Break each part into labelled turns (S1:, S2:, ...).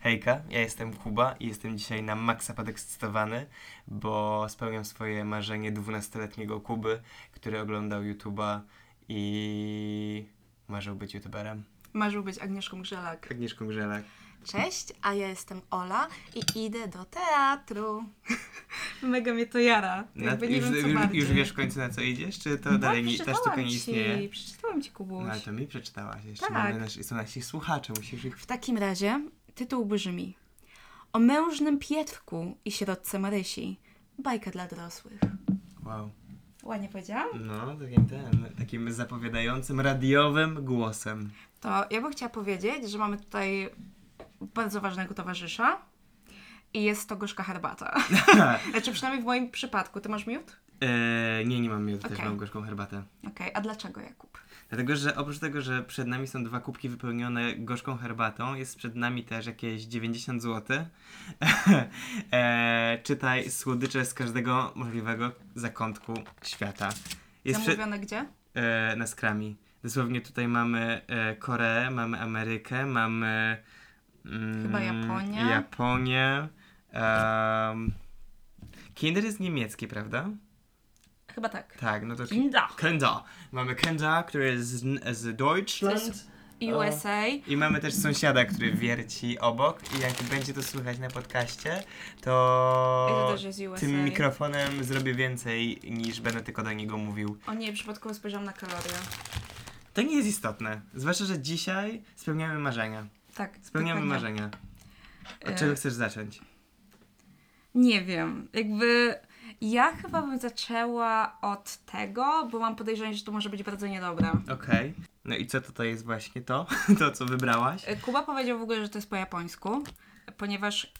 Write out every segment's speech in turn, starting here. S1: Hejka, ja jestem Kuba i jestem dzisiaj na maksa podekscytowany, bo spełniam swoje marzenie 12-letniego Kuby, który oglądał YouTube'a i marzył być YouTuberem.
S2: Marzył być Agnieszką Grzelak.
S1: Agnieszką Grzelak.
S3: Cześć, a ja jestem Ola i idę do teatru.
S2: Mega mnie to jara.
S1: Na,
S2: Jakby nie
S1: już,
S2: wiem, Tak, co
S1: już,
S2: bardziej.
S1: już wiesz w końcu na co idziesz, czy to
S2: No,
S1: dalej nie, ta
S2: przeczytałam
S1: sztuka nie
S2: ci,
S1: istnieje?
S2: Przeczytałam ci, Kubuś.
S1: No ale to mi przeczytałaś, jeszcze
S2: Tak.
S1: mamy nasz, są nasi słuchacze, musisz ich...
S3: W takim razie tytuł brzmi O mężnym Pietrku i sierotce Marysi. Bajka dla dorosłych.
S1: Wow.
S2: Ładnie powiedziałam?
S1: No, takim ten, takim zapowiadającym, radiowym głosem.
S3: To ja bym chciała powiedzieć, że mamy tutaj bardzo ważnego towarzysza i jest to gorzka herbata. Znaczy przynajmniej w moim przypadku. Ty masz miód?
S1: Eee, nie, nie mam miodu, też
S3: Okej.
S1: mam gorzką herbatę.
S3: Okej, a dlaczego Jakub?
S1: Dlatego, że oprócz tego, że przed nami są dwa kubki wypełnione gorzką herbatą, jest przed nami też jakieś 90 zł. e, czytaj słodycze z każdego możliwego zakątku świata. Jest przy,
S3: Zamówione gdzie?
S1: e, na skrami. Dosłownie tutaj mamy e, Koreę, mamy Amerykę, mamy. mm,
S3: Chyba Japonię.
S1: Japonię. em, Kinder jest niemiecki, prawda?
S3: Chyba tak.
S1: Tak, no to.
S3: Kinda.
S1: Kenda. Mamy Kenda, który jest z, z Deutschland.
S3: USA.
S1: I mamy też sąsiada, który wierci obok. I jak będzie to słychać na podcaście, to
S3: I to też jest USA.
S1: tym mikrofonem zrobię więcej niż będę tylko do niego mówił.
S3: O nie, przypadkowo spojrzałam na kalorie.
S1: To nie jest istotne. Zwłaszcza, że dzisiaj spełniamy marzenia.
S3: Tak.
S1: Spełniamy
S3: dokładnie.
S1: marzenia. Od
S3: E,
S1: czego chcesz zacząć?
S3: Nie wiem, jakby ja chyba bym zaczęła od tego, bo mam podejrzenie, że to może być bardzo niedobre.
S1: Okej. No i co tutaj jest właśnie to? To, co wybrałaś?
S3: Y, Kuba powiedział w ogóle, że to jest po japońsku, ponieważ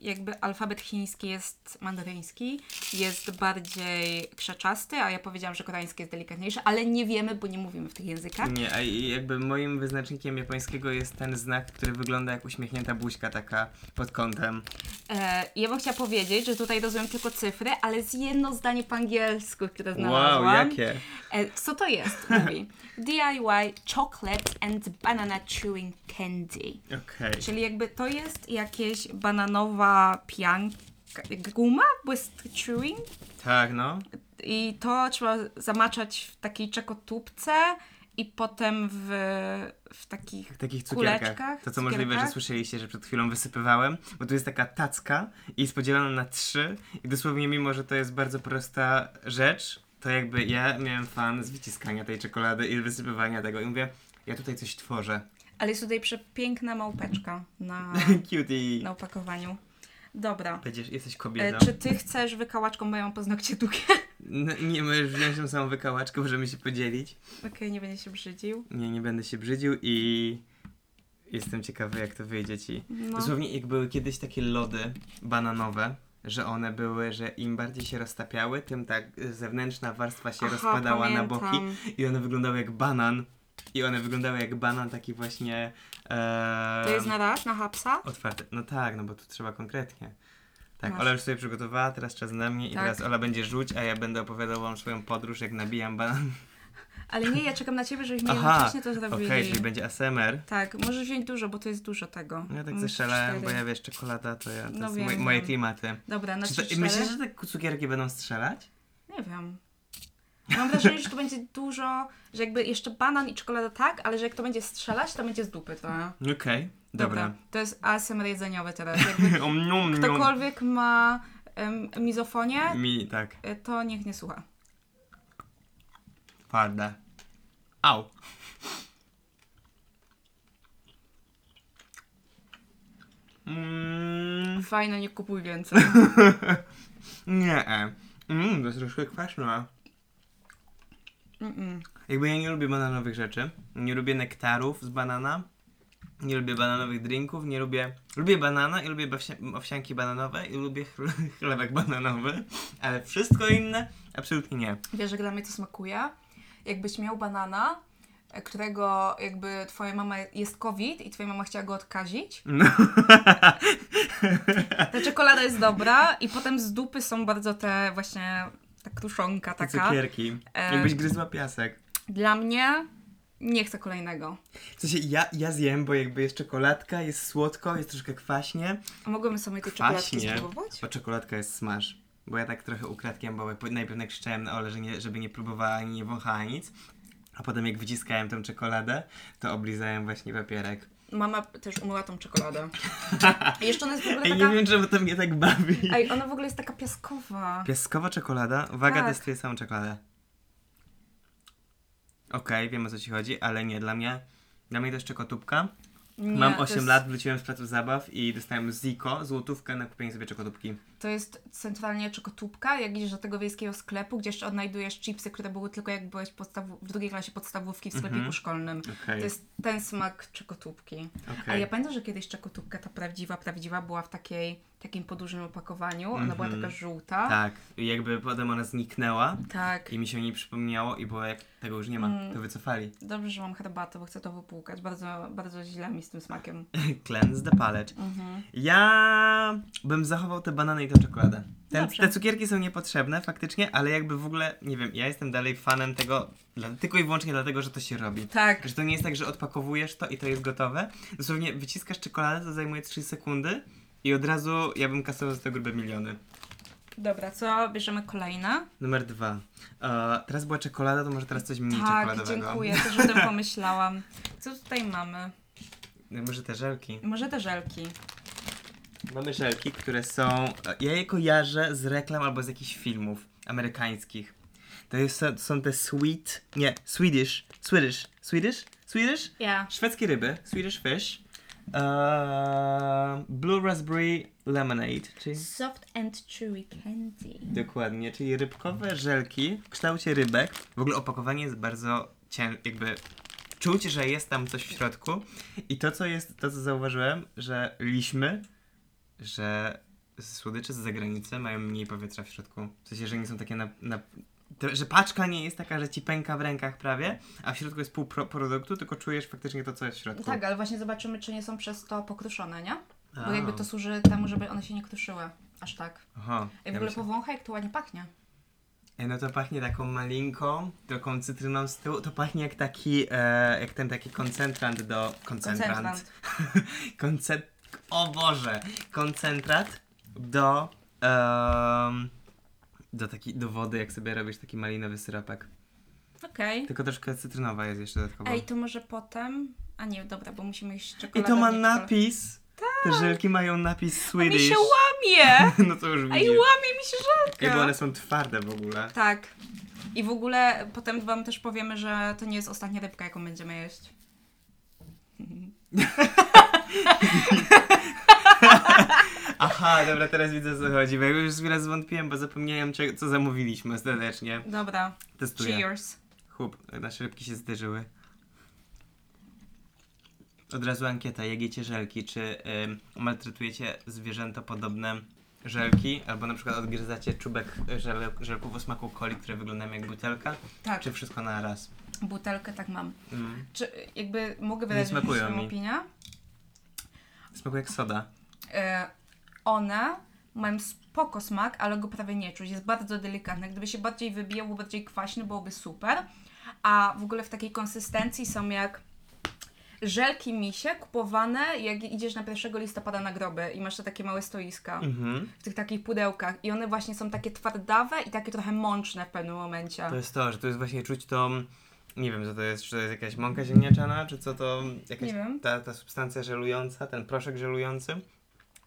S3: jakby alfabet chiński jest mandaryński, jest bardziej krzaczasty, a ja powiedziałam, że koreański jest delikatniejszy, ale nie wiemy, bo nie mówimy w tych językach.
S1: Nie, a i jakby moim wyznacznikiem japońskiego jest ten znak, który wygląda jak uśmiechnięta buźka taka pod kątem.
S3: E, ja bym chciała powiedzieć, że tutaj rozumiem tylko cyfry, ale jest jedno zdanie po angielsku, które znalazłam.
S1: Wow, jakie?
S3: E, Co to jest? Mówi DIY Y, Chocolate and Banana Chewing Candy.
S1: Okej.
S3: Czyli jakby to jest jakieś bananowa pianka, guma, błysk chewing
S1: Tak, no.
S3: i to trzeba zamaczać w takiej czekotubce i potem w, w takich...
S1: W takich
S3: Kuleczkach,
S1: cukierkach. To co
S3: cukierkach.
S1: możliwe, że słyszeliście, że przed chwilą wysypywałem, bo tu jest taka tacka i jest podzielona na trzy i dosłownie mimo, że to jest bardzo prosta rzecz, to jakby ja miałem fan z wyciskania tej czekolady i wysypywania tego i mówię, ja tutaj coś tworzę.
S3: Ale jest tutaj przepiękna małpeczka na,
S1: Cutie.
S3: na opakowaniu. Dobra.
S1: Będziesz, jesteś
S3: No. E,
S1: kobietą.
S3: czy ty chcesz wykałaczką moją paznokcie długie?
S1: No, nie możesz wziąć tą samą wykałaczkę, możemy się podzielić.
S3: Okej, nie będzie się brzydził.
S1: Nie, nie będę się brzydził i jestem ciekawy, jak to wyjdzie ci.
S3: No.
S1: Dosłownie jak były kiedyś takie lody bananowe, że one były, że im bardziej się roztapiały, tym tak y, zewnętrzna warstwa się
S3: Aha,
S1: rozpadała na
S3: pamiętam.
S1: boki i one wyglądały jak banan. I one wyglądały jak banan taki właśnie. E,
S3: To jest na raz, na hapsa?
S1: Otwarty. No tak, no bo tu trzeba konkretnie. Tak,
S3: Masz.
S1: Ola już sobie przygotowała, teraz czas na mnie i
S3: Tak.
S1: teraz Ola będzie rzuć, a ja będę opowiadał wam swoją podróż, jak nabijam banan.
S3: Ale nie, ja czekam na ciebie, żebyśmy
S1: Aha,
S3: jednocześnie to
S1: okej,
S3: zrobili.
S1: czyli będzie ASMR.
S3: Tak, możesz wziąć dużo, bo to jest dużo tego.
S1: Ja tak
S3: Możesz
S1: zeszalałem, bo
S3: cztery.
S1: ja wiesz, czekolada to ja, to
S3: No
S1: jest
S3: wiem,
S1: moje, moje
S3: wiem.
S1: klimaty.
S3: Dobra, na
S1: Czy
S3: trzy,
S1: to,
S3: cztery?
S1: myślisz, że te ku- cukierki będą strzelać?
S3: Nie wiem. Mam wrażenie, że to będzie dużo, że jakby jeszcze banan i czekolada tak, ale że jak to będzie strzelać, to będzie z dupy to.
S1: Okej, dobra.
S3: To jest ASMR jedzeniowy teraz. Jakby
S1: Om, nium, nium.
S3: ktokolwiek ma em, mizofonię,
S1: Mi, tak,
S3: y, to niech nie słucha.
S1: twarde. Au. Mm,
S3: Fajne, nie kupuj więcej.
S1: nie, e. mm, to jest troszkę kwaśne.
S3: Mm-mm.
S1: Jakby ja nie lubię bananowych rzeczy, nie lubię nektarów z banana, nie lubię bananowych drinków, nie lubię... Lubię banana i lubię owsia- owsianki bananowe i lubię chl- chlebek bananowy, ale wszystko inne absolutnie nie.
S3: Wiesz, że dla mnie to smakuje. Jakbyś miał banana, e, którego jakby twoja mama jest COVID i twoja mama chciała go odkazić.
S1: No.
S3: Ta czekolada jest dobra i potem z dupy są bardzo te właśnie ta kruszonka
S1: Te
S3: taka.
S1: cukierki.
S3: E,
S1: Jakbyś gryzła piasek.
S3: Dla mnie nie chcę kolejnego.
S1: W sensie ja, ja zjem, bo jakby jest czekoladka, jest słodko, jest troszkę kwaśnie.
S3: A mogłabym sobie te czekoladki
S1: Kwaśnie.
S3: spróbować?
S1: Bo czekoladka jest smash. Bo ja tak trochę ukradkiem, bo po- najpierw nakrzyczałem na Ole, że nie, żeby nie próbowała ani nie wąchała nic. A potem jak wyciskałem tą czekoladę, to oblizałem właśnie papierek.
S3: Mama też umyła tą czekoladę. I jeszcze ona jest w ogóle
S1: Ej, nie
S3: taka...
S1: wiem, czemu to mnie tak bawi.
S3: Ej, ona w ogóle jest taka piaskowa.
S1: Piaskowa czekolada? Uwaga,
S3: Tak.
S1: testuję samą czekoladę. Okej, wiem o co ci chodzi, ale nie, dla mnie... Dla mnie to jest czekotubka.
S3: Nie,
S1: Mam
S3: to
S1: 8
S3: jest,
S1: lat, wróciłem z placu zabaw i dostałem ziko, złotówkę na kupienie sobie czekotubki.
S3: To jest centralnie czekotubka, jak idziesz do tego wiejskiego sklepu, gdzie jeszcze odnajdujesz chipsy, które były tylko jak byłeś podstawu- w drugiej klasie podstawówki w sklepiku
S1: Mhm.
S3: szkolnym. To
S1: Okej,
S3: jest ten smak czekotubki. A
S1: okej.
S3: ja pamiętam, że kiedyś czekotubka, ta prawdziwa, prawdziwa, była w takiej, takim podłużnym opakowaniu. Ona była
S1: Mhm.
S3: taka żółta.
S1: Tak, i jakby potem ona zniknęła
S3: tak.
S1: i mi się o niej przypomniało i było jak tego już nie ma,
S3: Mm.
S1: to wycofali.
S3: Dobrze, że mam herbatę, bo chcę to wypłukać. Bardzo, bardzo źle mi z tym smakiem.
S1: Cleanse the palette.
S3: Mhm.
S1: Ja bym zachował te banany i tą czekoladę. Ten,
S3: Dobrze.
S1: te cukierki są niepotrzebne faktycznie, ale jakby w ogóle, nie wiem, ja jestem dalej fanem tego dla, tylko i wyłącznie dlatego, że to się robi.
S3: Tak,
S1: Że to nie jest tak, że odpakowujesz to i to jest gotowe. Dosłownie wyciskasz czekoladę, to zajmuje 3 sekundy i od razu ja bym kasował za to grube miliony.
S3: dobra, co bierzemy kolejne?
S1: Numer dwa. E, teraz była czekolada, to może teraz coś mniej
S3: tak,
S1: czekoladowego.
S3: dziękuję, też o tym pomyślałam. Co tutaj mamy?
S1: No, Może te żelki.
S3: Może te żelki.
S1: Mamy żelki, które są. e, Ja je kojarzę z reklam albo z jakichś filmów amerykańskich. To jest, to są te sweet. Nie, Swedish. Swedish. Swedish? Swedish?
S3: Ja.
S1: Szwedzkie ryby. Swedish fish. Eee, blue raspberry lemonade, czyli
S3: Soft and chewy candy.
S1: dokładnie, czyli rybkowe żelki w kształcie rybek. W ogóle opakowanie jest bardzo ciężkie, jakby czuć, że jest tam coś w środku. I to, co jest, to co zauważyłem, że liśmy, że słodycze z zagranicy mają mniej powietrza w środku. W sensie, że nie są takie na... na to, że paczka nie jest taka, że ci pęka w rękach prawie, a w środku jest pół pro produktu, tylko czujesz faktycznie to, co jest w środku.
S3: Tak, ale właśnie zobaczymy, czy nie są przez to pokruszone, nie? Bo
S1: A.
S3: jakby to służy temu, żeby one się nie kruszyły. Aż tak.
S1: Aha,
S3: Ej, w
S1: ja
S3: ogóle
S1: myślę-
S3: powąchaj, jak to ładnie pachnie.
S1: Ej, No to pachnie taką malinką, taką cytryną z tyłu. To pachnie jak taki, e, jak ten taki koncentrant do... Koncentrant.
S3: Koncentrant.
S1: Koncent... O Boże! Koncentrat do... em, do taki, do wody, jak sobie robisz taki malinowy syropek.
S3: Okej.
S1: Tylko troszkę cytrynowa jest jeszcze dodatkowo.
S3: Ej, to może potem... A nie, dobra, bo musimy iść
S1: I
S3: czekoladą.
S1: to ma
S3: nie
S1: napis! Te żelki mają napis
S3: czekoladą. Tak. Mi
S1: Swedish.
S3: się łamie!
S1: no to już
S3: Ej,
S1: widzisz.
S3: łamie mi się
S1: Ej, bo
S3: żelka!
S1: one są twarde w ogóle.
S3: Tak. I w ogóle potem wam też powiemy, że to nie jest ostatnia rybka, jaką będziemy jeść.
S1: Aha, dobra, teraz widzę o co chodzi, bo ja już wiele zwątpiłem, bo zapomniałem cze- co zamówiliśmy ostatecznie.
S3: Dobra,
S1: Testuję.
S3: cheers.
S1: Chłop, nasze rybki się zderzyły. Od razu ankieta, jak jecie żelki, czy ym, maltretujecie zwierzęta podobne żelki, albo na przykład odgryzacie czubek żel- żelków o smaku coli, które wyglądają jak butelka,
S3: Tak,
S1: czy wszystko na raz?
S3: butelkę tak mam.
S1: Mm.
S3: Czy jakby mogę wydać
S1: smakują
S3: swoją
S1: mi.
S3: opinię?
S1: Smakuje jak soda.
S3: E, one mają spoko smak, ale go prawie nie czuć. Jest bardzo delikatny. Gdyby się bardziej wybijał, był bardziej kwaśny, byłoby super. A w ogóle w takiej konsystencji są jak żelki misie kupowane, jak idziesz na 1 listopada na groby i masz te takie małe stoiska
S1: Mhm.
S3: w tych takich pudełkach. I one właśnie są takie twardawe i takie trochę mączne w pewnym momencie.
S1: To jest to, że tu jest właśnie czuć tą, nie wiem co to jest, czy to jest jakaś mąka ziemniaczana, czy co to, jakaś
S3: Nie wiem.
S1: Ta, ta substancja żelująca, ten proszek żelujący.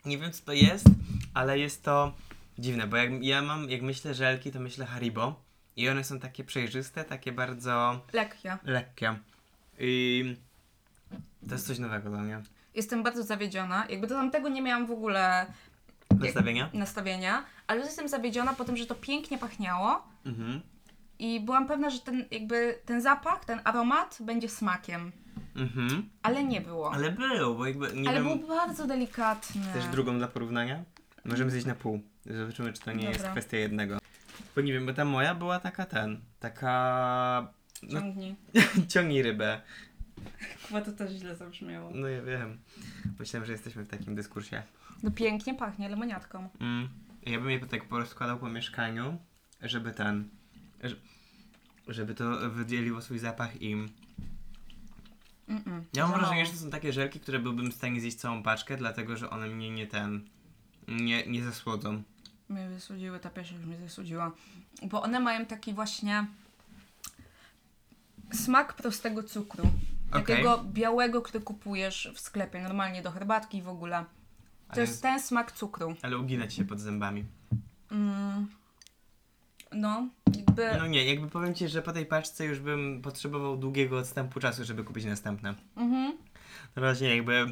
S1: Nie wiem co to jest, ale jest to dziwne, bo jak ja mam, jak myślę żelki, to myślę Haribo i one są takie przejrzyste, takie bardzo
S3: Lekkie.
S1: lekkie. I to jest coś nowego dla mnie.
S3: Jestem bardzo zawiedziona. Jakby do tamtego nie miałam w ogóle
S1: Nastawienia?
S3: nastawienia, ale jestem zawiedziona po tym, że to pięknie pachniało
S1: Mhm.
S3: i byłam pewna, że ten jakby ten zapach, ten aromat będzie smakiem,
S1: Mhm.
S3: ale nie było. Ale,
S1: Ale był, bo jakby nie wiem,
S3: był bardzo delikatny.
S1: Chcesz drugą dla porównania? Możemy zjeść na pół. Zobaczymy, czy to nie jest
S3: Mm. Dobra.
S1: kwestia jednego. Bo nie wiem, bo ta moja była taka ten, taka... No,
S3: Ciągnij.
S1: ciągnij rybę.
S2: Chyba to też źle zabrzmiało.
S1: No ja wiem. Myślałem, że jesteśmy w takim dyskursie.
S3: No pięknie pachnie lemoniatką.
S1: Mm. Ja bym je tak porozkładał po mieszkaniu, żeby ten... ż- Żeby to wydzieliło swój zapach im.
S3: Mm-mm.
S1: Ja mam
S3: Za
S1: wrażenie,
S3: mało.
S1: że to są takie żelki, które byłbym w stanie zjeść całą paczkę, dlatego że one mnie nie ten. nie, nie zasłodzą.
S3: Mnie wysudziły, ta pierwsza już mnie wysudziła. Bo one mają taki właśnie smak prostego cukru.
S1: Okej.
S3: Takiego białego, który kupujesz w sklepie, normalnie do herbatki i w ogóle. To
S1: Ale,
S3: jest ten smak cukru.
S1: ale ugina ci się pod zębami.
S3: Mm. No, jakby...
S1: No nie, jakby powiem ci, że po tej paczce już bym potrzebował długiego odstępu czasu, żeby kupić następne.
S3: Mhm.
S1: Na razie jakby.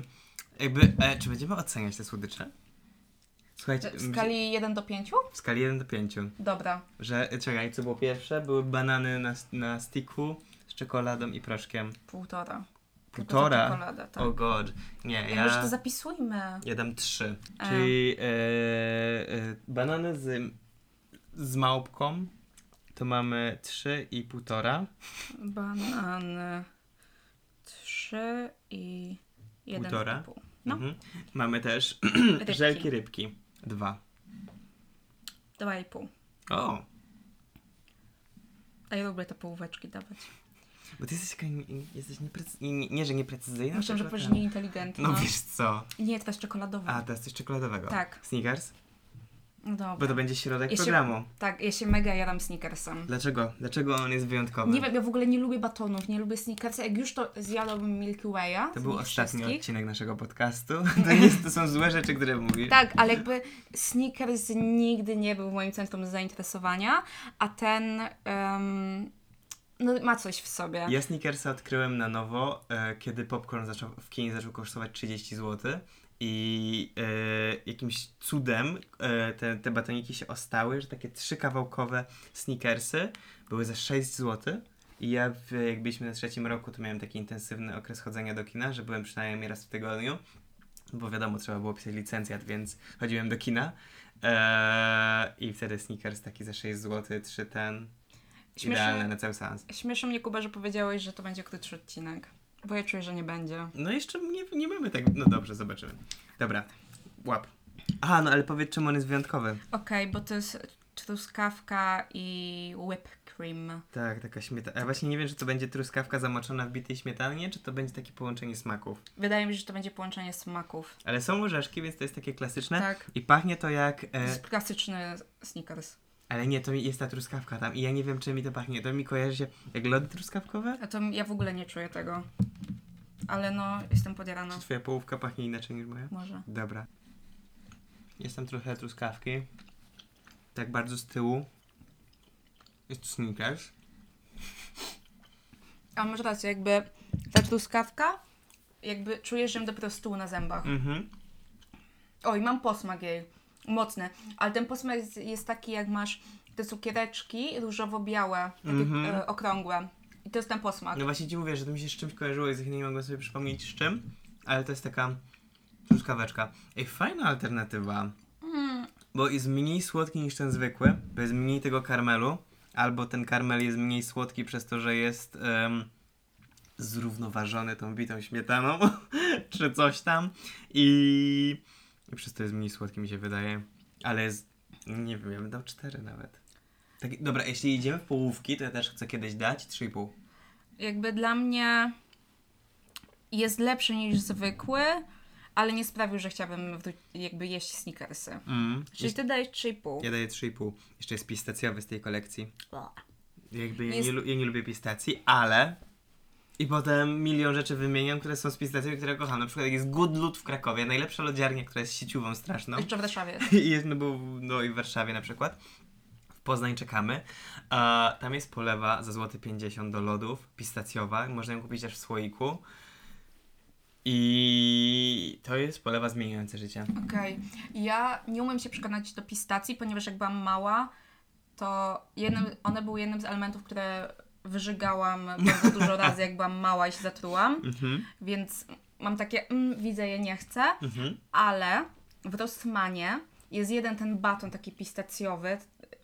S1: jakby e, czy będziemy oceniać te słodycze? Słuchajcie,
S3: W skali 1 do 5?
S1: w skali 1 do 5.
S3: Dobra.
S1: Że, e, czekaj, co było pierwsze? Były banany na, na stiku z czekoladą i proszkiem.
S3: Półtora. Tylko ta
S1: Półtora?
S3: Czekolada, tak.
S1: O oh god. Nie,
S3: Jakby, że
S1: ja...
S3: to zapisujmy.
S1: Ja dam trzy.
S3: A.
S1: Czyli e, e, banany z, z małpką to mamy trzy i półtora.
S3: Banany. Trzy i jeden
S1: Półtora?
S3: i pół. No.
S1: Mhm. Mamy też
S3: Rybki.
S1: żelki rybki. Dwa.
S3: Dwa i pół.
S1: O,
S3: A ja lubię te połóweczki dawać.
S1: bo ty jesteś taka, nie- jesteś nieprecyz... nie, nie, że nieprecyzyjna.
S3: Myślałam, że
S1: tylko
S3: powiesz
S1: ten.
S3: nieinteligentna.
S1: tak No wiesz co?
S3: Nie, teraz czekoladowa.
S1: A, teraz coś czekoladowego.
S3: No. Tak.
S1: Snickers?
S3: No dobra.
S1: Bo to będzie środek
S3: Ja się-
S1: programu.
S3: Tak, ja się mega jadam Snickersem.
S1: Dlaczego? Dlaczego on jest wyjątkowy?
S3: Nie wiem, ja w ogóle nie lubię batonów, nie lubię Snickersa. Jak już to zjadłabym Milky Way'a.
S1: To
S3: z
S1: był
S3: nich
S1: ostatni
S3: wszystkich.
S1: odcinek naszego podcastu. To, nie, to są złe rzeczy, które mówisz.
S3: Tak, ale jakby Snickers nigdy nie był moim centrum zainteresowania, a ten em, no, ma coś w sobie.
S1: Ja Snickersa odkryłem na nowo, e, kiedy popcorn zaczął, w kinie zaczął kosztować 30 zł i e, jakimś cudem e, te, te batoniki się ostały, że takie trzykawałkowe Snickersy były za 6 zł. I ja, w, jak byliśmy na trzecim roku, to miałem taki intensywny okres chodzenia do kina, że byłem przynajmniej raz w tygodniu, bo wiadomo, trzeba było pisać licencjat, więc chodziłem do kina. Eee, I wtedy Snickers taki za 6 zł, 3 ten,
S3: Śmieszne-
S1: idealny na cały seans.
S3: Śmieszy mnie, Kuba, że powiedziałeś, że to będzie krótszy odcinek, bo ja czuję, że nie będzie.
S1: No jeszcze nie, nie mamy tak. No dobrze, zobaczymy. Dobra, łap. Aha, no ale powiedz, czemu on jest wyjątkowy.
S3: Okej, bo to jest truskawka i whipped cream.
S1: Tak, taka śmietana. Ja właśnie nie wiem, czy to będzie truskawka zamoczona w bitej śmietanie, czy to będzie takie połączenie smaków.
S3: Wydaje mi się, że to będzie połączenie smaków.
S1: Ale są orzeszki, więc to jest takie klasyczne.
S3: Tak.
S1: I pachnie to jak.
S3: To
S1: E,
S3: jest klasyczny Snickers.
S1: ale nie, to mi- jest ta truskawka tam. I ja nie wiem, czy mi to pachnie. To mi kojarzy się jak lody truskawkowe?
S3: A to m- ja w ogóle nie czuję tego. Ale no, jestem podjarana.
S1: Czy twoja połówka pachnie inaczej niż moja?
S3: Może.
S1: Dobra. Jest tam trochę truskawki. Tak bardzo z tyłu. Jest sneakers.
S3: A masz rację, jakby ta truskawka, jakby czujesz ją do prostu na zębach.
S1: Mhm.
S3: Oj, mam posmak jej. Mocny. Ale ten posmak jest, jest taki, jak masz te cukiereczki różowo-białe, takie
S1: Mhm.
S3: e, okrągłe. I to jest ten posmak.
S1: No właśnie ci mówię, że to mi się z czymś kojarzyło i za chwilę nie mogę sobie przypomnieć z czym, ale to jest taka truskaweczka. Ej, fajna alternatywa,
S3: Mm,
S1: bo jest mniej słodki niż ten zwykły, bo jest mniej tego karmelu, albo ten karmel jest mniej słodki przez to, że jest em, zrównoważony tą bitą śmietaną, czy coś tam i, i przez to jest mniej słodki mi się wydaje, ale jest, nie wiem, ja bym dał 4 nawet. Tak, dobra, jeśli idziemy w połówki, to ja też chcę kiedyś dać 3,5.
S3: jakby dla mnie jest lepszy niż zwykły, ale nie sprawił, że chciałabym wró- jakby jeść sneakersy.
S1: Mm.
S3: Czyli ty dajesz 3,5.
S1: Ja daję 3,5. Jeszcze jest pistacjowy z tej kolekcji.
S3: Bo.
S1: Jakby ja,
S3: Jest-
S1: nie, lu- ja nie lubię pistacji, ale... I potem milion rzeczy wymieniam, które są z pistacjami, które kocham. Na przykład jak jest Good Lud w Krakowie, najlepsza lodziarnia, która jest sieciową straszną.
S3: Jeszcze w Warszawie.
S1: I jest, no, bo, no i w Warszawie na przykład. W Poznań czekamy. A, tam jest polewa za złoty 50 do lodów, pistacjowa. Można ją kupić też w słoiku. I to jest polewa zmieniająca życie.
S3: Okej. Ja nie umiem się przekonać do pistacji, ponieważ jak byłam mała, to jednym, one były jednym z elementów, które wyżygałam bardzo dużo razy, jak byłam mała i się zatrułam,
S1: Mhm,
S3: więc mam takie, mm, widzę je, nie chcę,
S1: mhm.
S3: ale w Rossmanie jest jeden ten baton taki pistacjowy,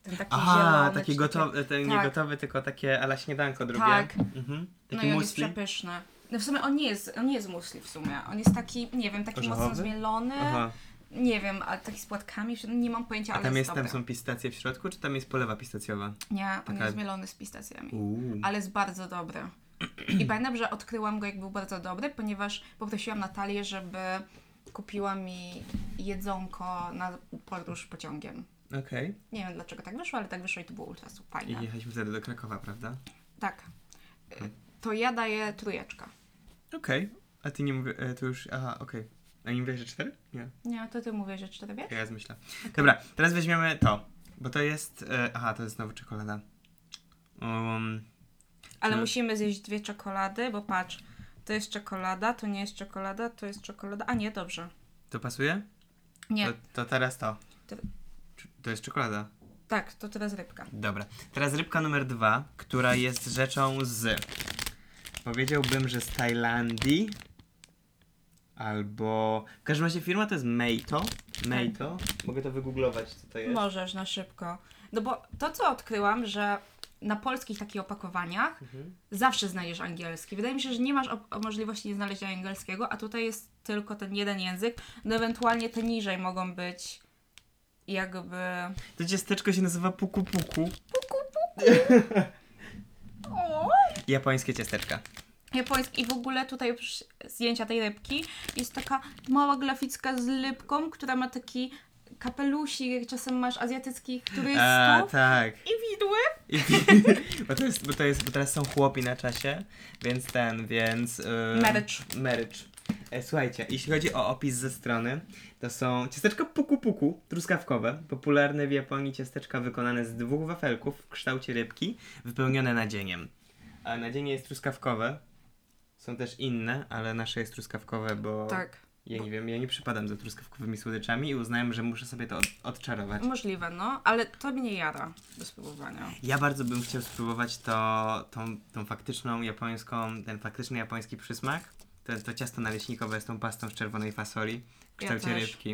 S3: ten taki
S1: Aha,
S3: zielony.
S1: taki
S3: czy taki-
S1: gotowy, e, ten nie
S3: tak.
S1: gotowy, tylko takie ala śniadanko drugie.
S3: Tak.
S1: Mhm.
S3: No
S1: Taki
S3: i on jest
S1: muesli.
S3: przepyszny. No w sumie on nie jest, on nie jest musli w sumie. On jest taki, nie wiem, taki mocno
S1: Orzechowy?
S3: zmielony.
S1: Aha.
S3: Nie wiem, ale taki z płatkami, nie mam pojęcia,
S1: A
S3: ale
S1: tam, jest,
S3: dobry.
S1: tam są pistacje w środku, czy tam jest polewa pistacjowa?
S3: Nie, on
S1: Taka-
S3: jest mielony z pistacjami.
S1: Uuu.
S3: Ale jest bardzo dobry. I pamiętam, że odkryłam go, jak był bardzo dobry, ponieważ poprosiłam Natalię, żeby kupiła mi jedzonko na podróż pociągiem.
S1: Okej.
S3: Nie wiem dlaczego tak wyszło, ale tak wyszło i to było ultra super
S1: I Hmm.
S3: fajne.
S1: jechaliśmy wtedy do Krakowa, prawda?
S3: Tak. Y, To ja daję trójeczkę.
S1: Okej. A ty nie mówię, e, to już, aha, okej. A nie mówiłeś, że cztery? Nie.
S3: Nie, to ty mówisz, że cztery wiesz?
S1: Ja zmyślę. Dobra, teraz weźmiemy to, bo to jest, e, aha, to jest znowu czekolada. Um,
S3: Ale
S1: No.
S3: musimy zjeść dwie czekolady, bo patrz, to jest czekolada, to nie jest czekolada, to jest czekolada. A nie, dobrze.
S1: to pasuje?
S3: Nie,
S1: To, to teraz to.
S3: To-
S1: Czy- To jest czekolada.
S3: tak, to teraz rybka.
S1: Dobra. Teraz rybka numer dwa, która jest rzeczą z. Powiedziałbym, że z Tajlandii. Albo. W każdym razie firma to jest Meito. Meito. Mogę to wygooglować, co to jest.
S3: Możesz na szybko. No bo to, co odkryłam, że na polskich takich opakowaniach
S1: Mhm.
S3: zawsze znajdziesz angielski. Wydaje mi się, że nie masz op- możliwości nie znalezienia angielskiego, a tutaj jest tylko ten jeden język. No ewentualnie te niżej mogą być jakby...
S1: To ciasteczko się nazywa Puku Puku. Japońskie ciasteczka.
S3: japoński. I w ogóle tutaj już zdjęcia tej rybki jest taka mała graficka z rybką, która ma taki kapelusik, jak czasem masz azjatyckich turystów.
S1: tak.
S3: I widły.
S1: I, bo, to jest, bo to jest, bo teraz są chłopi na czasie, więc ten, więc... Yy,
S3: Marriage.
S1: marriage. E, Słuchajcie, jeśli chodzi o opis ze strony, to są ciasteczka puku puku, truskawkowe, popularne w Japonii ciasteczka wykonane z dwóch wafelków w kształcie rybki, wypełnione nadzieniem. A nadzienie jest truskawkowe, są też inne, ale nasze jest truskawkowe, bo
S3: Tak.
S1: ja nie wiem, ja nie przypadam za truskawkowymi słodyczami i uznałem, że muszę sobie to od, odczarować.
S3: Możliwe, no, ale to mnie jara do spróbowania.
S1: Ja bardzo bym chciał spróbować to, tą, tą faktyczną japońską, ten faktyczny japoński przysmak. To jest to ciasto naleśnikowe z tą pastą z czerwonej fasoli w
S3: Ja
S1: kształcie
S3: też,
S1: rybki.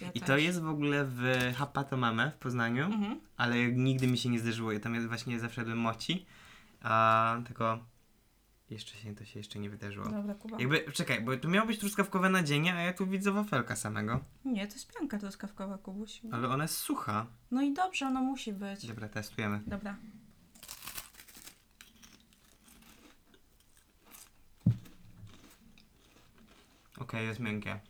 S3: Ja
S1: I
S3: też.
S1: to jest w ogóle w Hapato Mame w Poznaniu,
S3: Mhm.
S1: ale nigdy mi się nie zdarzyło. Ja tam właśnie zawsze jadłem moci, a tylko jeszcze się, to się jeszcze nie wydarzyło.
S3: Dobra, Kuba.
S1: Jakby, czekaj, bo tu miało być truskawkowe nadzienie, a ja tu widzę wafelka samego.
S3: Nie, to jest pianka truskawkowa, Kubusiu.
S1: Ale ona jest sucha.
S3: No i dobrze, ono musi być.
S1: Dobra, testujemy.
S3: Dobra.
S1: Okej, jest miękkie.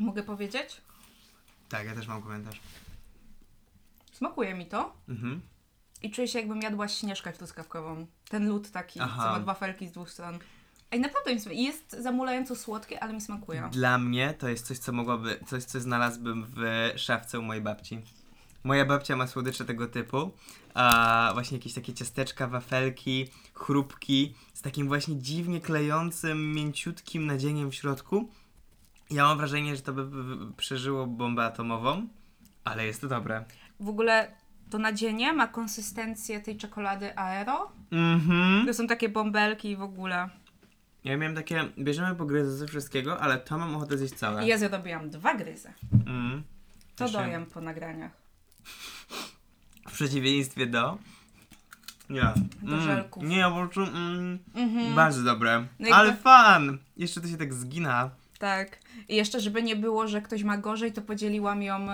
S3: Mogę powiedzieć?
S1: Tak, ja też mam komentarz.
S3: Smakuje mi to
S1: Mhm.
S3: i czuję się jakbym jadła śnieżkę truskawkową. Ten lód taki,
S1: Aha.
S3: co ma wafelki z dwóch stron. Ej, naprawdę mi smakuje. Jest zamulająco słodkie, ale mi smakuje.
S1: Dla mnie to jest coś, co mogłaby, coś, co znalazłbym w szafce u mojej babci. Moja babcia ma słodycze tego typu, a właśnie jakieś takie ciasteczka, wafelki, chrupki z takim właśnie dziwnie klejącym, mięciutkim nadzieniem w środku. Ja mam wrażenie, że to by by przeżyło bombę atomową, ale jest to dobre.
S3: W ogóle to nadzienie ma konsystencję tej czekolady Aero.
S1: Mhm.
S3: To są takie bąbelki i w ogóle.
S1: Ja miałem takie, bierzemy po gryzy ze wszystkiego, ale to mam ochotę zjeść całe.
S3: I ja zrobiłam dwa gryzy.
S1: Mm.
S3: To
S1: Proszę.
S3: dojem po nagraniach.
S1: W przeciwieństwie do... Nie.
S3: Do żelków.
S1: Nie, po prostu... Mm.
S3: Mhm.
S1: Bardzo dobre.
S3: No
S1: Ale
S3: jakby-
S1: fan! Jeszcze to się tak zgina.
S3: Tak. I jeszcze, żeby nie było, że ktoś ma gorzej, to podzieliłam ją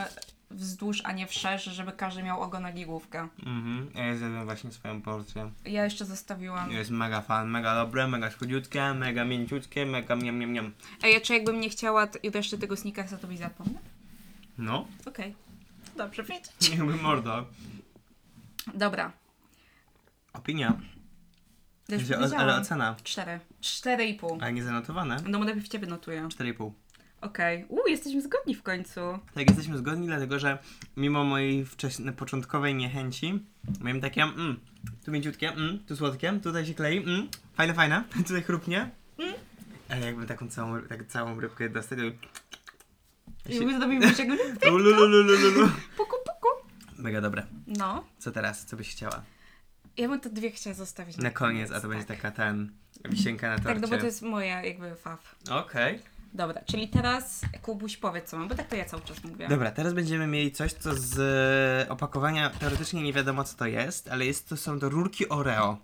S3: wzdłuż, a nie wszerz, żeby każdy miał ogonek i główkę.
S1: Mhm. Ja zjadłem właśnie swoją porcję.
S3: Ja jeszcze zostawiłam.
S1: Jest mega fan, mega dobre, mega schudziutkie, mega mięciutkie, mega miam, miam, miam.
S3: Ej, czy jakbym nie chciała t- reszty tego sneakersa, to byś zapomnę?
S1: No,
S3: Okej. Dobrze wiedzieć.
S1: jakby mordo.
S3: Dobra.
S1: Opinia.
S3: Też
S1: Że- o- ale
S3: powiedziałam.
S1: ocena.
S3: Cztery. Cztery i pół.
S1: Ale nie zanotowane.
S3: No bo najpierw ciebie notuję.
S1: 4,5.
S3: Okej. Uuu, jesteśmy zgodni w końcu.
S1: Tak, jesteśmy zgodni, dlatego że mimo mojej wcześniej, początkowej niechęci, miałem takie, mm, tu mięciutkie, mm, tu słodkie, tutaj się klei, mm, fajne, fajne, tutaj chrupnie. Mm. Ale jakbym taką całą, tak całą rybkę tak, dostał, to...
S3: I my zrobimy się
S1: Ulululululu.
S3: Puku, puku.
S1: tak, Mega dobre.
S3: No.
S1: Co teraz? Co byś chciała?
S3: Ja bym te dwie chciała zostawić.
S1: Na koniec, a to będzie taka ten wisienka na torcie.
S3: Tak, no bo to jest moja jakby faw.
S1: Okej.
S3: Dobra, czyli teraz Kubuś powiedz co mam, bo tak to ja cały czas mówię.
S1: Dobra, teraz będziemy mieli coś, co z e, opakowania teoretycznie nie wiadomo co to jest, ale jest to są to rurki Oreo.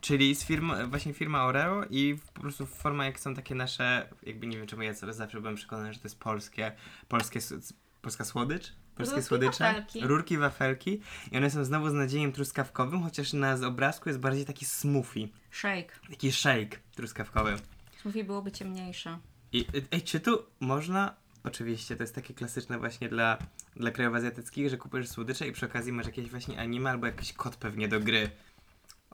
S1: Czyli z firma, właśnie firma Oreo i w- po prostu forma jak są takie nasze, jakby nie wiem czemu ja zawsze byłem przekonany, że to jest polskie, polskie, s- polska słodycz, polskie
S2: Rurki,
S1: słodycze.
S2: wafelki.
S1: Rurki, wafelki. I one są znowu z nadziejem truskawkowym, chociaż na z obrazku jest bardziej taki smoothie.
S3: Shake.
S1: Taki shake truskawkowy.
S3: Smoothie byłoby ciemniejsze.
S1: I, e, ej, czy tu można... Oczywiście, to jest takie klasyczne właśnie dla, dla krajów azjatyckich, że kupujesz słodycze i przy okazji masz jakieś właśnie anime albo jakiś kod pewnie do gry.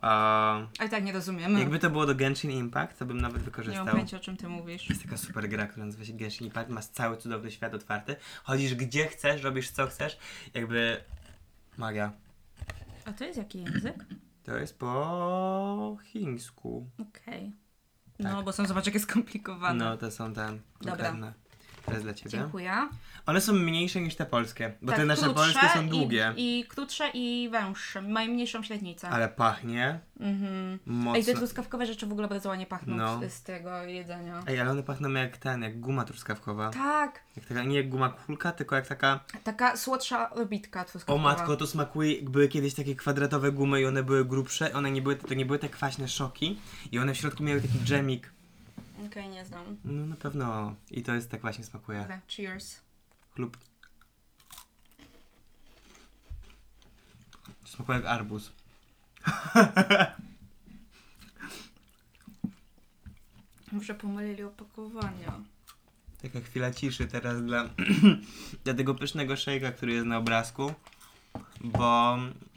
S1: A,
S3: Ale tak nie rozumiemy.
S1: jakby to było do Genshin Impact, to bym nawet
S3: Nie mam
S1: wykorzystał.
S3: pojęcia, o czym ty mówisz.
S1: Jest taka super gra, która nazywa się Genshin Impact, masz cały cudowny świat otwarty, chodzisz gdzie chcesz, robisz co chcesz, jakby magia.
S3: A to jest jaki język?
S1: To jest po chińsku.
S3: Okej.
S1: Tak.
S3: No, bo są, zobacz, jakie skomplikowane.
S1: No, to są tam
S3: Dobra.
S1: konkretne. Teraz dla ciebie.
S3: Dziękuję.
S1: One są mniejsze niż te polskie, bo
S3: Tak,
S1: te nasze
S3: krótsze
S1: polskie są długie.
S3: I, I krótsze i węższe. Mają mniejszą średnicę.
S1: Ale pachnie
S3: Mhm.
S1: mocno.
S3: Tak. Ej, te truskawkowe rzeczy w ogóle bardzo ładnie pachną
S1: No.
S3: z, z tego jedzenia.
S1: Ej, no. ale one pachną jak ten, jak guma truskawkowa.
S3: Tak,
S1: Jak taka, nie jak guma kulka, tylko jak taka
S3: taka słodsza robitka
S1: O
S3: truskawkowa.
S1: matko, to smakuje, były kiedyś takie kwadratowe gumy i one były grubsze, one nie były, to nie były te kwaśne szoki i one w środku miały taki dżemik.
S3: Okej, nie znam.
S1: No na pewno i to jest tak właśnie smakuje.
S3: Dobra, cheers.
S1: Chlub. To Smakuje jak arbuz.
S3: Może pomylili opakowania.
S1: Taka chwila ciszy teraz dla, dla tego pysznego szejka, który jest na obrazku, bo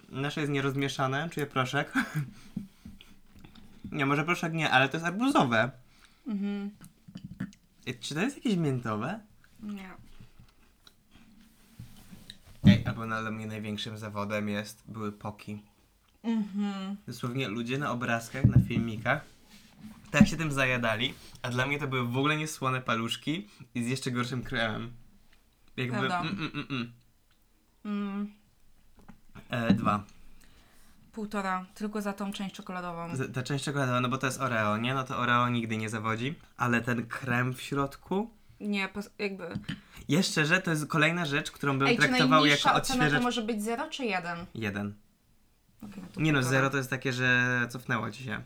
S1: nasze jest nierozmieszane, czuję proszek. nie, może proszek nie, ale to jest arbuzowe.
S3: Mhm,
S1: E, Czy to jest jakieś miętowe?
S3: nie.
S1: Ej, albo na- dla mnie największym zawodem jest, były poki.
S3: Mhm.
S1: Dosłownie ludzie na obrazkach, na filmikach tak się tym zajadali, a dla mnie to były w ogóle niesłone paluszki i z jeszcze gorszym kremem. Jakby...
S3: Prawda.
S1: Mm, mm, mm, mm.
S3: Mm,
S1: E, dwa.
S3: półtora, tylko za tą część czekoladową.
S1: Z- Ta Tak. część czekoladowa, no bo to jest Oreo, nie? No to Oreo nigdy nie zawodzi, ale ten krem w środku...
S3: Nie, pos- jakby...
S1: Jeszcze, że to jest kolejna rzecz, którą bym
S3: Ej, czy
S1: traktował
S3: najmniejsza
S1: jako
S3: ocena to
S1: odświeżacz...
S3: może być 0 czy 1?
S1: Jeden. Nie no, zero to jest takie, że cofnęło ci się.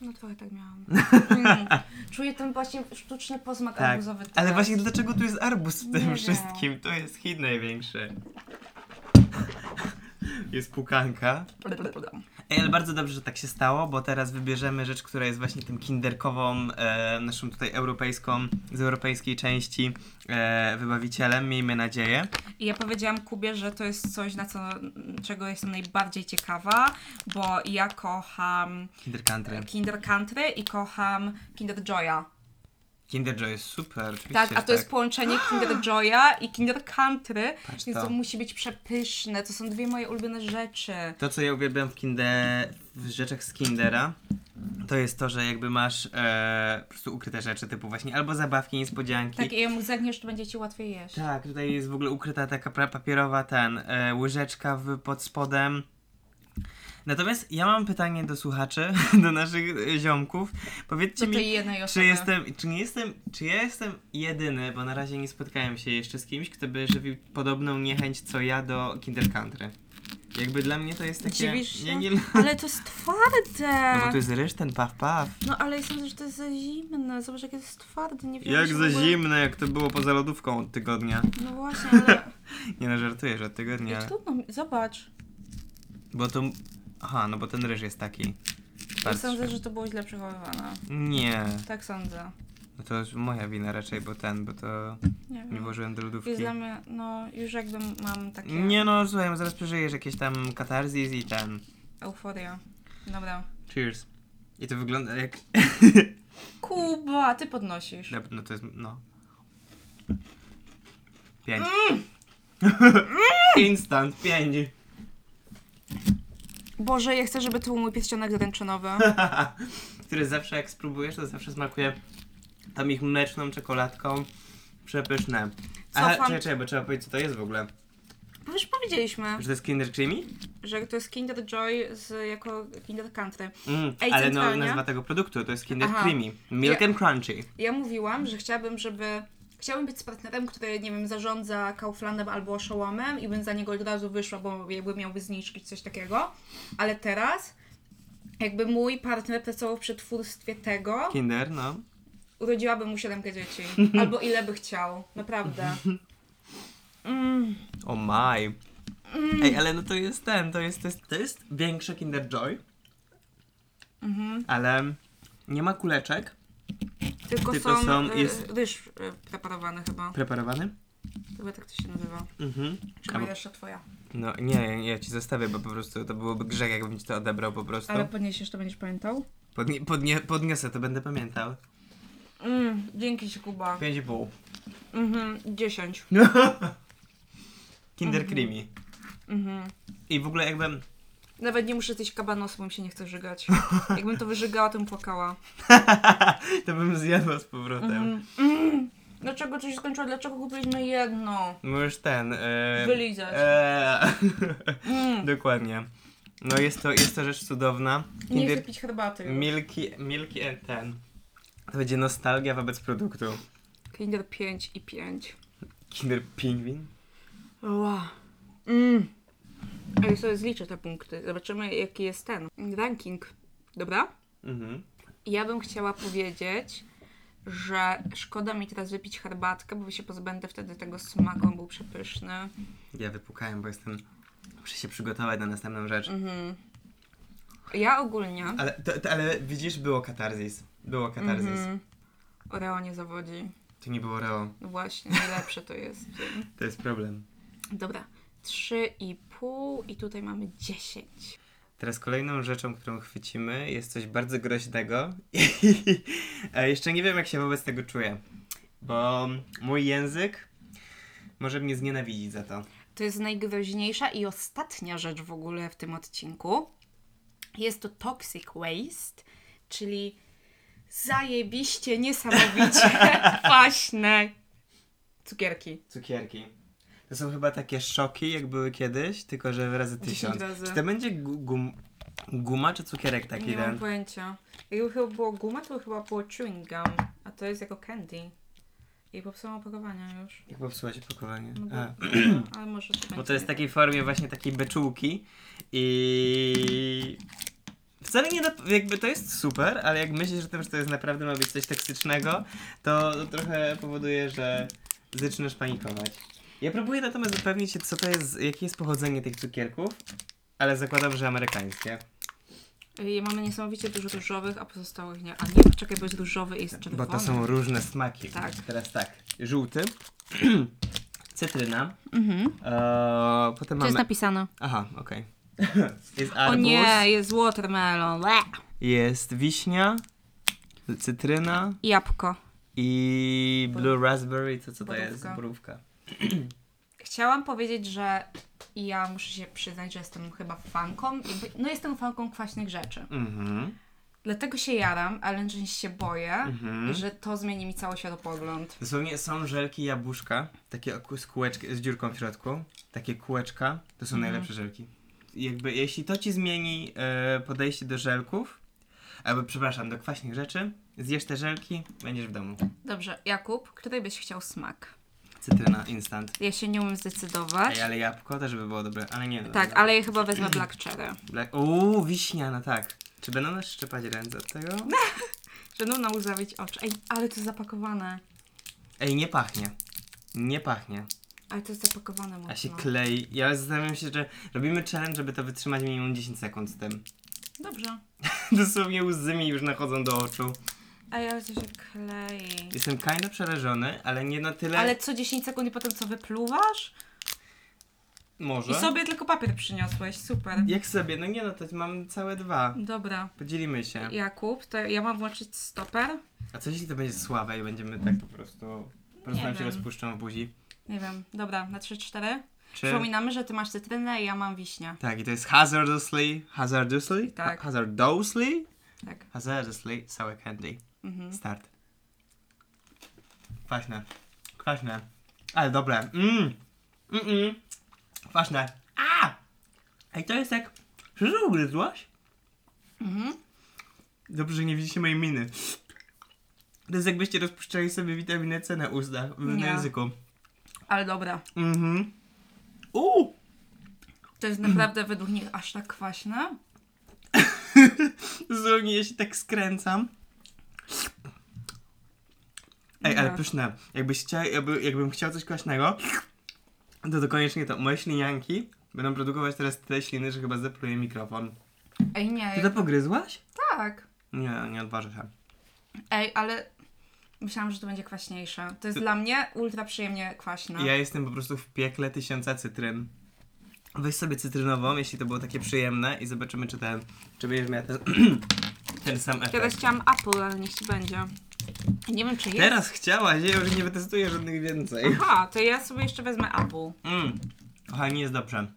S3: No trochę tak miałam. Mm. Czuję ten właśnie sztuczny posmak
S1: Tak,
S3: arbuzowy.
S1: Ale
S3: teraz.
S1: właśnie dlaczego tu jest arbuz w
S3: Nie
S1: tym
S3: wiem.
S1: wszystkim? To jest hit największy. Jest pukanka. Ej, ale bardzo dobrze, że tak się stało, bo teraz wybierzemy rzecz, która jest właśnie tym kinderkową, e, naszą tutaj europejską, z europejskiej części e, wybawicielem, miejmy nadzieję.
S3: I ja powiedziałam Kubie, że to jest coś, na co, czego jestem najbardziej ciekawa, bo ja kocham
S1: Kinder Country.
S3: Kinder Country i kocham Kinder Joya.
S1: Kinder Joy jest super, oczywiście.
S3: Tak, a
S1: że
S3: to jest połączenie Kinder Joya i Kinder Country,
S1: Patrz
S3: więc
S1: to.
S3: to musi być przepyszne. To są dwie moje ulubione rzeczy.
S1: To, co ja uwielbiam w, kinder, w rzeczach z Kindera, to jest to, że jakby masz e, po prostu ukryte rzeczy, typu właśnie albo zabawki, niespodzianki.
S3: Tak, i jak mu zagniesz, to będzie ci łatwiej jeść.
S1: Tak, tutaj jest w ogóle ukryta taka pra- papierowa ten, e, łyżeczka w, pod spodem. Natomiast ja mam pytanie do słuchaczy, do naszych e, ziomków. Powiedzcie
S3: Do tej
S1: mi,
S3: jednej osoby.
S1: czy jestem, czy nie jestem, czy ja jestem jedyny, bo na razie nie spotkałem się jeszcze z kimś, kto by żywił podobną niechęć co ja do Kinder Country. Jakby dla mnie to jest takie...
S3: Dziwisz się?
S1: Ja nie,
S3: Ale to jest twarde!
S1: no bo tu jest ryż, ten paw paw.
S3: No ale ja sądzę, że to jest za zimne. Zobacz, jakie to jest twarde. Nie wiem,
S1: Jak
S3: czy
S1: za
S3: w ogóle-
S1: zimne, jak to było poza lodówką od tygodnia.
S3: No właśnie, ale...
S1: Nie no, żartuję, że od
S3: Nie.
S1: tygodnia.
S3: Trudno, mi- zobacz.
S1: Bo to... Aha, no bo ten ryż jest taki.
S3: Ja
S1: Patrz.
S3: sądzę, że to było źle przechowywane.
S1: Nie,
S3: Tak sądzę.
S1: no to już moja wina raczej, bo ten, bo to
S3: Nie
S1: nie
S3: wiem.
S1: włożyłem do lodówki.
S3: Mm. Jest dla mnie, no już jakby mam takie
S1: Nie no, słuchaj, no zaraz przeżyjesz jakieś tam katarzis i ten.
S3: euforia. Dobra.
S1: Cheers. I to wygląda jak...
S3: Kuba, ty podnosisz.
S1: No to jest... no. Pięć. Instant, pięć.
S3: Boże, ja chcę, żeby to był mój pierścionek ręcznowy.
S1: Który zawsze jak spróbujesz, to zawsze smakuje tam ich mleczną czekoladką. Przepyszne. Aha,
S3: Cofam-
S1: czekaj, czekaj, bo trzeba powiedzieć co to jest w ogóle.
S3: Bo już powiedzieliśmy,
S1: Że to jest Kinder Creamy?
S3: że to jest Kinder Joy z, jako Kinder Country.
S1: Mm,
S3: Ej,
S1: ale no,
S3: centralnie.
S1: nazwa tego produktu to jest Kinder
S3: Aha.
S1: Creamy. Milk
S3: Ja-
S1: and Crunchy.
S3: Ja mówiłam, że chciałabym, żeby. Chciałabym być z partnerem, który, nie wiem, zarządza Kauflandem albo Oszołomem i bym za niego od razu wyszła, bo jakby miałby zniżki czy coś takiego. Ale teraz, jakby mój partner pracował przy twórstwie tego,
S1: Kinder, no.
S3: urodziłabym mu siedemkę dzieci. Albo ile by chciał. Naprawdę. Mm,
S1: O maj. Ej, ale no to jest ten, to jest, to jest, to jest większe Kinder Joy,
S3: mhm.
S1: ale nie ma kuleczek
S3: Tylko,
S1: Tylko
S3: są,
S1: są-
S3: y,
S1: jest-
S3: ryż y, preparowany chyba.
S1: preparowany.
S3: Chyba tak to się nazywa.
S1: Mhm.
S3: Czy
S1: Albo-
S3: Albo... jeszcze twoja?
S1: No nie, ja ci zostawię, bo po prostu to byłoby grzech, jakbym ci to odebrał po prostu.
S2: Ale podniesiesz, to będziesz pamiętał?
S1: Podnie, podnie, podniosę, to będę pamiętał.
S3: Mm, dzięki ci, Kuba.
S1: 5,5.
S3: Mhm, 10.
S1: Kinder Creamy.
S3: Mhm.
S1: I w ogóle jakbym...
S3: Nawet nie muszę zjeść kabanosu, bo mi się nie chce żygać. Jakbym to wyżygała, to bym płakała.
S1: to bym zjadła z powrotem.
S3: Mhm. Mm. Dlaczego to się skończyło? Dlaczego kupiliśmy jedno?
S1: Możesz No ten... e,
S3: Wylizać.
S1: e,
S3: Mm.
S1: Dokładnie. No jest to, jest to rzecz cudowna.
S2: Nie chcę
S1: Kinder
S2: pić herbaty. już.
S1: Milky, Milky and ten. To będzie nostalgia wobec produktu.
S3: Kinder 5 i 5.
S1: Kinder Pingwin?
S3: Wow. Mm. Ja sobie zliczę te punkty. Zobaczymy, jaki jest ten ranking. Dobra?
S1: Mhm.
S3: Ja bym chciała powiedzieć, że szkoda mi teraz wypić herbatkę, bo się pozbędę wtedy tego smaku, on był przepyszny.
S1: Ja wypukałem, bo jestem... Muszę się przygotować na następną rzecz.
S3: Mhm. Ja ogólnie...
S1: Ale, to, to, ale widzisz, było katarzis. Było katarzis.
S3: Mhm. Oreo nie zawodzi.
S1: To nie było Reo.
S3: No Właśnie, najlepsze to jest.
S1: To jest problem.
S3: Dobra, 3,5 i tutaj mamy 10.
S1: Teraz kolejną rzeczą, którą chwycimy, jest coś bardzo groźnego. E, Jeszcze nie wiem, jak się wobec tego czuję, bo mój język może mnie znienawidzić za to.
S3: To jest najgroźniejsza i ostatnia rzecz w ogóle w tym odcinku. Jest to toxic waste, czyli zajebiście, niesamowicie kwaśne cukierki.
S1: Cukierki. To są chyba takie szoki, jak były kiedyś, tylko że razy tysiąc.
S3: razy.
S1: Czy to będzie gu- gum, guma czy cukierek taki
S3: Nie mam
S1: ten?
S3: pojęcia. Jakby chyba było guma, to chyba było chewing gum, a to jest jako candy. I popsułam opakowania już.
S1: Jak popsułaś opakowanie?
S3: No bo,
S1: A.
S3: ale może to
S1: Bo to jest w takiej formie właśnie takiej beczułki i wcale nie, nap- jakby to jest super, ale jak myślisz o tym, że to jest naprawdę ma być coś toksycznego, to trochę powoduje, że zaczynasz panikować. Ja próbuję natomiast upewnić się, co to jest, jakie jest pochodzenie tych cukierków, ale zakładam, że amerykańskie.
S3: I mamy niesamowicie dużo różowych, a pozostałych nie. A nie, czekaj, bo jest różowy i jest czerwony.
S1: Bo to są różne smaki.
S3: Tak.
S1: Teraz tak, żółty, cytryna,
S3: Mhm.
S1: eee, potem
S3: Co
S1: mamy...
S3: jest napisane?
S1: Aha, okej. jest
S3: O
S1: arbuz.
S3: nie, jest watermelon. Le.
S1: Jest wiśnia, cytryna
S3: Jabłko.
S1: i blue raspberry, to co to
S3: Borówka.
S1: jest? Borówka.
S3: Chciałam powiedzieć, że ja muszę się przyznać, że jestem chyba fanką. Jakby, no jestem fanką kwaśnych rzeczy.
S1: Mhm.
S3: Dlatego się jaram, ale jednocześnie się boję,
S1: Mhm.
S3: że to zmieni mi cały światopogląd.
S1: Dosłownie są żelki jabłuszka, takie aku- z, kółeczk- z dziurką w środku, takie kółeczka, to są najlepsze żelki. Jakby jeśli to ci zmieni e, podejście do żelków, albo przepraszam, do kwaśnych rzeczy, zjesz te żelki, będziesz w domu.
S3: Dobrze, Jakub, który byś chciał smak?
S1: Cytryna instant.
S3: Ja się nie umiem zdecydować.
S1: Ej, ale jabłko też by było dobre, ale nie. no,
S3: Tak, ale ja chyba wezmę black cherry.
S1: Dla... Uuu, wiśniana, tak. Czy będą nas szczepać ręce od tego?
S3: Będą nam łzawić no, oczy. Ej, ale to zapakowane.
S1: Ej, nie pachnie. Nie pachnie.
S3: Ale to jest zapakowane mocno.
S1: A się klei. Ja zastanawiam się, że robimy challenge, żeby to wytrzymać minimum 10 sekund z tym.
S3: Dobrze.
S1: Dosłownie łzy mi już nachodzą do oczu.
S3: A ja to się klei.
S1: Jestem kinda przerażony, ale nie na tyle.
S3: Ale co 10 sekund i potem co wypluwasz?
S1: Może.
S3: I sobie tylko papier przyniosłeś, super.
S1: Jak sobie? No nie no, to mam całe dwa.
S3: Dobra.
S1: Podzielimy się.
S3: Jakub, to ja mam włączyć stoper?
S1: A co jeśli to będzie słabe i będziemy tak po prostu... Po prostu
S3: Nie
S1: nam się
S3: wiem.
S1: rozpuszczą w buzi.
S3: Nie wiem. Dobra, na 3-4.
S1: Czy...
S3: Przypominamy, że ty masz cytrynę i ja mam wiśnię.
S1: Tak, i to jest hazardously... Hazardously?
S3: Tak.
S1: Ha- hazardously?
S3: Tak.
S1: Hazardously sour candy.
S3: Mhm.
S1: Start. Kwaśne. Kwaśne. Ale dobre. Mmm. Mm-mm. Kwaśne. A! Ej, to jest jak... Czy to ugryzłaś?
S3: Mhm.
S1: Dobrze, że nie widzicie mojej miny. To jest jakbyście rozpuszczali sobie witaminę C na ustach,
S3: Nie.
S1: na języku.
S3: Ale dobra.
S1: Mhm. Uuu!
S3: To jest naprawdę według nich aż tak kwaśne.
S1: Zunie, ja się tak skręcam. Ej, ale
S3: Nie. No.
S1: pyszne. Jakbyś chciał, jakby, jakbym chciał coś kwaśnego, To, to koniecznie to. Moje ślinianki będą produkować teraz tyle śliny, że chyba zepluję mikrofon.
S3: Ej, nie,
S1: Ty to pogryzłaś?
S3: tak.
S1: Nie, nie odważę się.
S3: Ej, ale myślałam, że to będzie kwaśniejsze. To jest dla mnie ultra przyjemnie kwaśne.
S1: Ja jestem po prostu w piekle tysiąca cytryn. Weź sobie cytrynową, jeśli to było takie przyjemne i zobaczymy, czy ten, czy będziesz miała ten, ten sam efekt.
S3: Ja też chciałam Apple, ale niech ci będzie. Nie wiem, czy jest.
S1: Teraz chciałaś, ja już nie wytestuję żadnych więcej.
S3: Aha, to ja sobie jeszcze wezmę Apple.
S1: Mm. Kochani, jest dobrze.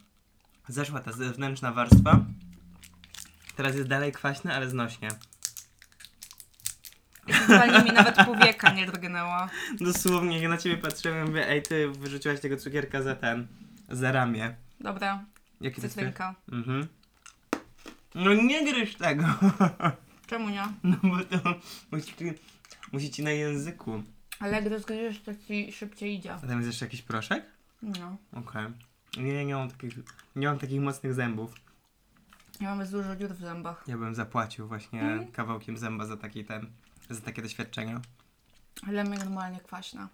S1: Zeszła ta zewnętrzna warstwa. Teraz jest dalej kwaśne, ale znośnie.
S3: Totalnie mi nawet powieka nie drgnęło.
S1: Dosłownie, jak na ciebie patrzyłem, mówię, ej, ty wyrzuciłaś tego cukierka za ten, za ramię.
S3: Dobra,
S1: Jaki to jest?
S3: cytrynka.
S1: Mhm. No nie gryź tego.
S3: Czemu nie?
S1: No bo to musi, musi ci na języku.
S3: Ale jak rozgryziesz, to ci szybciej idzie.
S1: A tam jest jeszcze jakiś proszek?
S3: No.
S1: Okej. Nie, nie mam takich, nie mam takich mocnych zębów.
S3: Ja mam dużo dziur w zębach.
S1: Ja bym zapłacił właśnie
S3: Mhm.
S1: kawałkiem zęba za taki ten, za takie doświadczenie.
S3: Ale mnie normalnie kwaśna.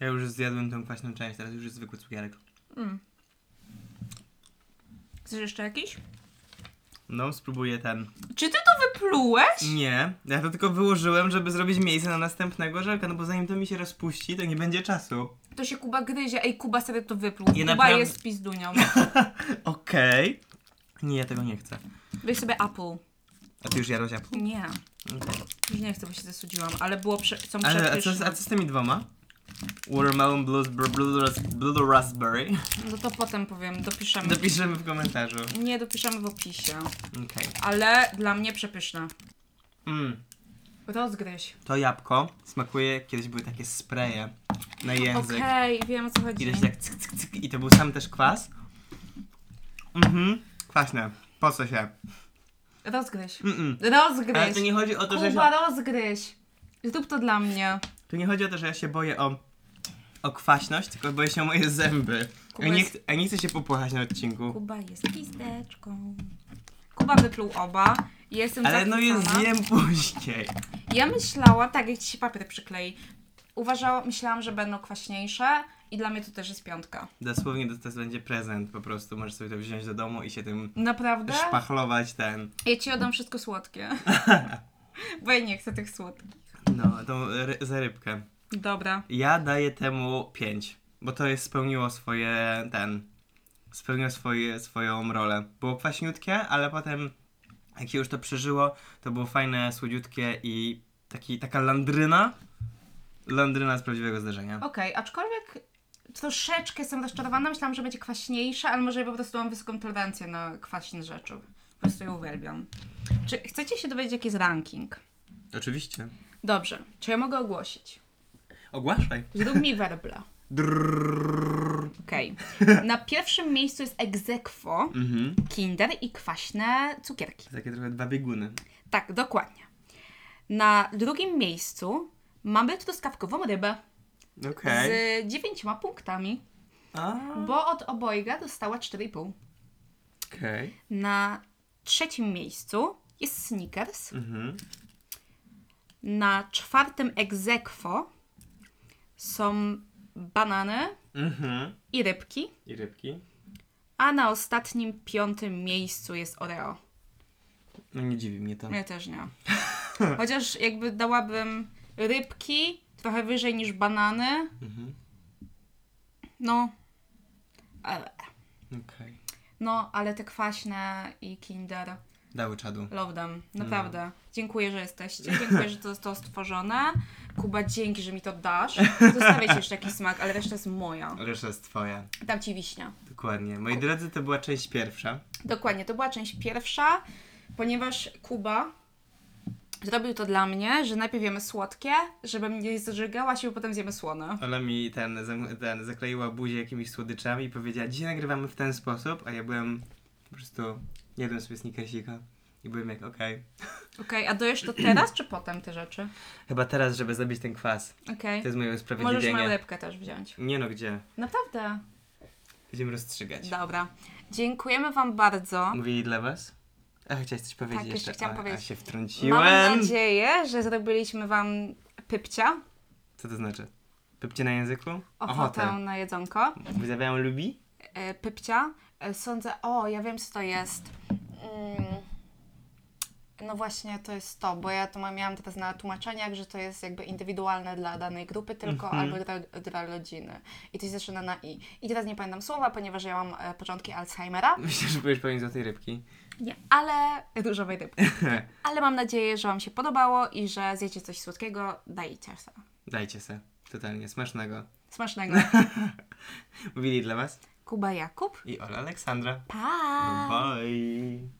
S1: Ja już zjadłem tą kwaśną część, teraz już jest zwykły cukierek.
S3: Mm. Chcesz jeszcze jakiś?
S1: No, spróbuję ten.
S3: Czy ty to wyplułeś?
S1: Nie, ja to tylko wyłożyłem, żeby zrobić miejsce na następnego żelka, no bo zanim to mi się rozpuści, to nie będzie czasu.
S3: To się Kuba gryzie. Ej, Kuba sobie to wypluł.
S1: Nie,
S3: Kuba
S1: naprawdę-
S3: jest pizdunią.
S1: Okej. Nie, ja tego nie chcę.
S3: Weź sobie Apple.
S1: A ty już jadłaś apple?
S3: Nie.
S1: Okej.
S3: Już nie chcę, bo się zasudziłam, ale było prze... są
S1: Ale a co, z-
S3: przepyszne.
S1: a co z tymi dwoma? Watermelon blues, br, blue, ras, blue raspberry.
S3: No to potem powiem, dopiszemy.
S1: Dopiszemy w komentarzu.
S3: Nie, dopiszemy w opisie.
S1: Okej.
S3: Ale dla mnie przepyszne.
S1: Mm,
S3: Rozgryź.
S1: to jabłko smakuje, kiedyś były takie spreje na język.
S3: Okej, wiem o co chodzi.
S1: Ileś tak cyk, cyk, cyk i to był sam też kwas. Mhm, kwaśne. Po co się?
S3: Rozgryź.
S1: Mm-mm. Mm. Ale
S3: Rozgryź.
S1: tu nie chodzi o to, że się,
S3: Kuba, rozgryź. Zrób to dla mnie.
S1: tu nie chodzi o to, że ja się boję o, o kwaśność, tylko boję się o moje zęby.
S3: Kuba
S1: Ja nie,
S3: jest-
S1: ch- ja nie chcę się popłachać na odcinku.
S3: Kuba jest pisteczką. Kuba wypluł oba. Jestem
S1: Ale no je
S3: zachwycona.
S1: zjem później.
S3: Ja myślała, tak jak ci się papier przyklei. Uważałam, myślałam, że będą kwaśniejsze i dla mnie to też jest piątka.
S1: Dosłownie to, to będzie prezent po prostu. Możesz sobie to wziąć do domu i się tym
S3: Naprawdę?
S1: szpachlować ten.
S3: Ja ci oddam wszystko słodkie. Bo ja nie chcę tych słodkich.
S1: No, tą ry- za rybkę.
S3: Dobra.
S1: Ja daję temu 5, bo to jest spełniło swoje ten. Spełniło swoje, swoją rolę. Było kwaśniutkie, ale potem jak się już to przeżyło, to było fajne, słodziutkie i taki, taka landryna. Landryna z prawdziwego zdarzenia.
S3: Okej, aczkolwiek troszeczkę jestem rozczarowana. Myślałam, że będzie kwaśniejsze, ale może ja po prostu mam wysoką tolerancję na kwaśne rzeczy. Po prostu je uwielbiam. Czy chcecie się dowiedzieć, jaki jest ranking?
S1: Oczywiście.
S3: Dobrze, czy ja mogę ogłosić?
S1: Ogłaszaj.
S3: Zrób mi werble.
S1: Drrrr.
S3: Okej. Na pierwszym miejscu jest egzekwo,
S1: Mhm.
S3: kinder i kwaśne cukierki.
S1: Takie trochę dwa bieguny.
S3: Tak, dokładnie. Na drugim miejscu mamy truskawkową rybę
S1: Okej.
S3: z dziewięcioma punktami,
S1: A,
S3: bo od obojga dostała 4,5.
S1: Okej.
S3: Na trzecim miejscu jest Snickers.
S1: Mhm.
S3: Na czwartym egzekwo są banany
S1: Mhm.
S3: i rybki.
S1: I rybki.
S3: A na ostatnim, piątym miejscu jest Oreo.
S1: No nie dziwi mnie to.
S3: Mnie też nie. Chociaż jakby dałabym rybki trochę wyżej niż banany.
S1: Mhm.
S3: No. Ale,
S1: Okej.
S3: no, ale te kwaśne i kinder.
S1: Dały czadu.
S3: Love them.
S1: No.
S3: Naprawdę. Dziękuję, że jesteście. Dziękuję, że to zostało stworzone. Kuba, dzięki, że mi to dasz. Zostawię ci jeszcze jakiś smak, ale reszta jest moja.
S1: Reszta jest twoja.
S3: Dam ci wiśnia.
S1: Dokładnie. Moi drodzy, to była część pierwsza.
S3: Dokładnie, to była część pierwsza, ponieważ Kuba zrobił to dla mnie, że najpierw jemy słodkie, żebym nie zżygała się, bo potem zjemy słone.
S1: Ola mi ten, zam- ten zakleiła buzię jakimiś słodyczami i powiedziała, dzisiaj nagrywamy w ten sposób, a ja byłem po prostu, jadłem sobie snickersika i byłem jak, okej.
S3: Okej, a dojesz to teraz, czy potem te rzeczy?
S1: Chyba teraz, żeby zabić ten kwas.
S3: Okej.
S1: To jest moje
S3: Możesz moją
S1: usprawiedliwienie.
S3: lepkę też wziąć.
S1: Nie no, gdzie?
S3: Naprawdę.
S1: Będziemy rozstrzygać.
S3: Dobra. Dziękujemy Wam bardzo.
S1: Mówili dla was? A chciałaś coś powiedzieć
S3: Tak, jeszcze
S1: jeszcze?
S3: chciałam
S1: a,
S3: powiedzieć.
S1: A się
S3: Mam
S1: wtrąciłem.
S3: nadzieję, że zrobiliśmy Wam pypcia.
S1: Co to znaczy? Pypcie na języku?
S3: Ochotę na jedzonko.
S1: Wyzawiają lubi?
S3: E, Pypcia. E, Sądzę, o, ja wiem, co to jest. Mm. No właśnie, to jest to, bo ja to ma- miałam teraz na tłumaczeniach, że to jest jakby indywidualne dla danej grupy tylko, albo dla, dla rodziny. I to się zaczyna na i. I teraz nie pamiętam słowa, ponieważ ja mam e, początki Alzheimera,
S1: Myślę, że powiesz pewnie złotej rybki.
S3: nie. ale dużo rybki. Ale mam nadzieję, że Wam się podobało i że zjecie coś słodkiego, dajcie se.
S1: Dajcie se. Totalnie. Smacznego.
S3: Smacznego.
S1: Mówili dla was
S3: Kuba Jakub. 嗯
S1: i Ola Aleksandra.
S3: Pa!
S1: Bye.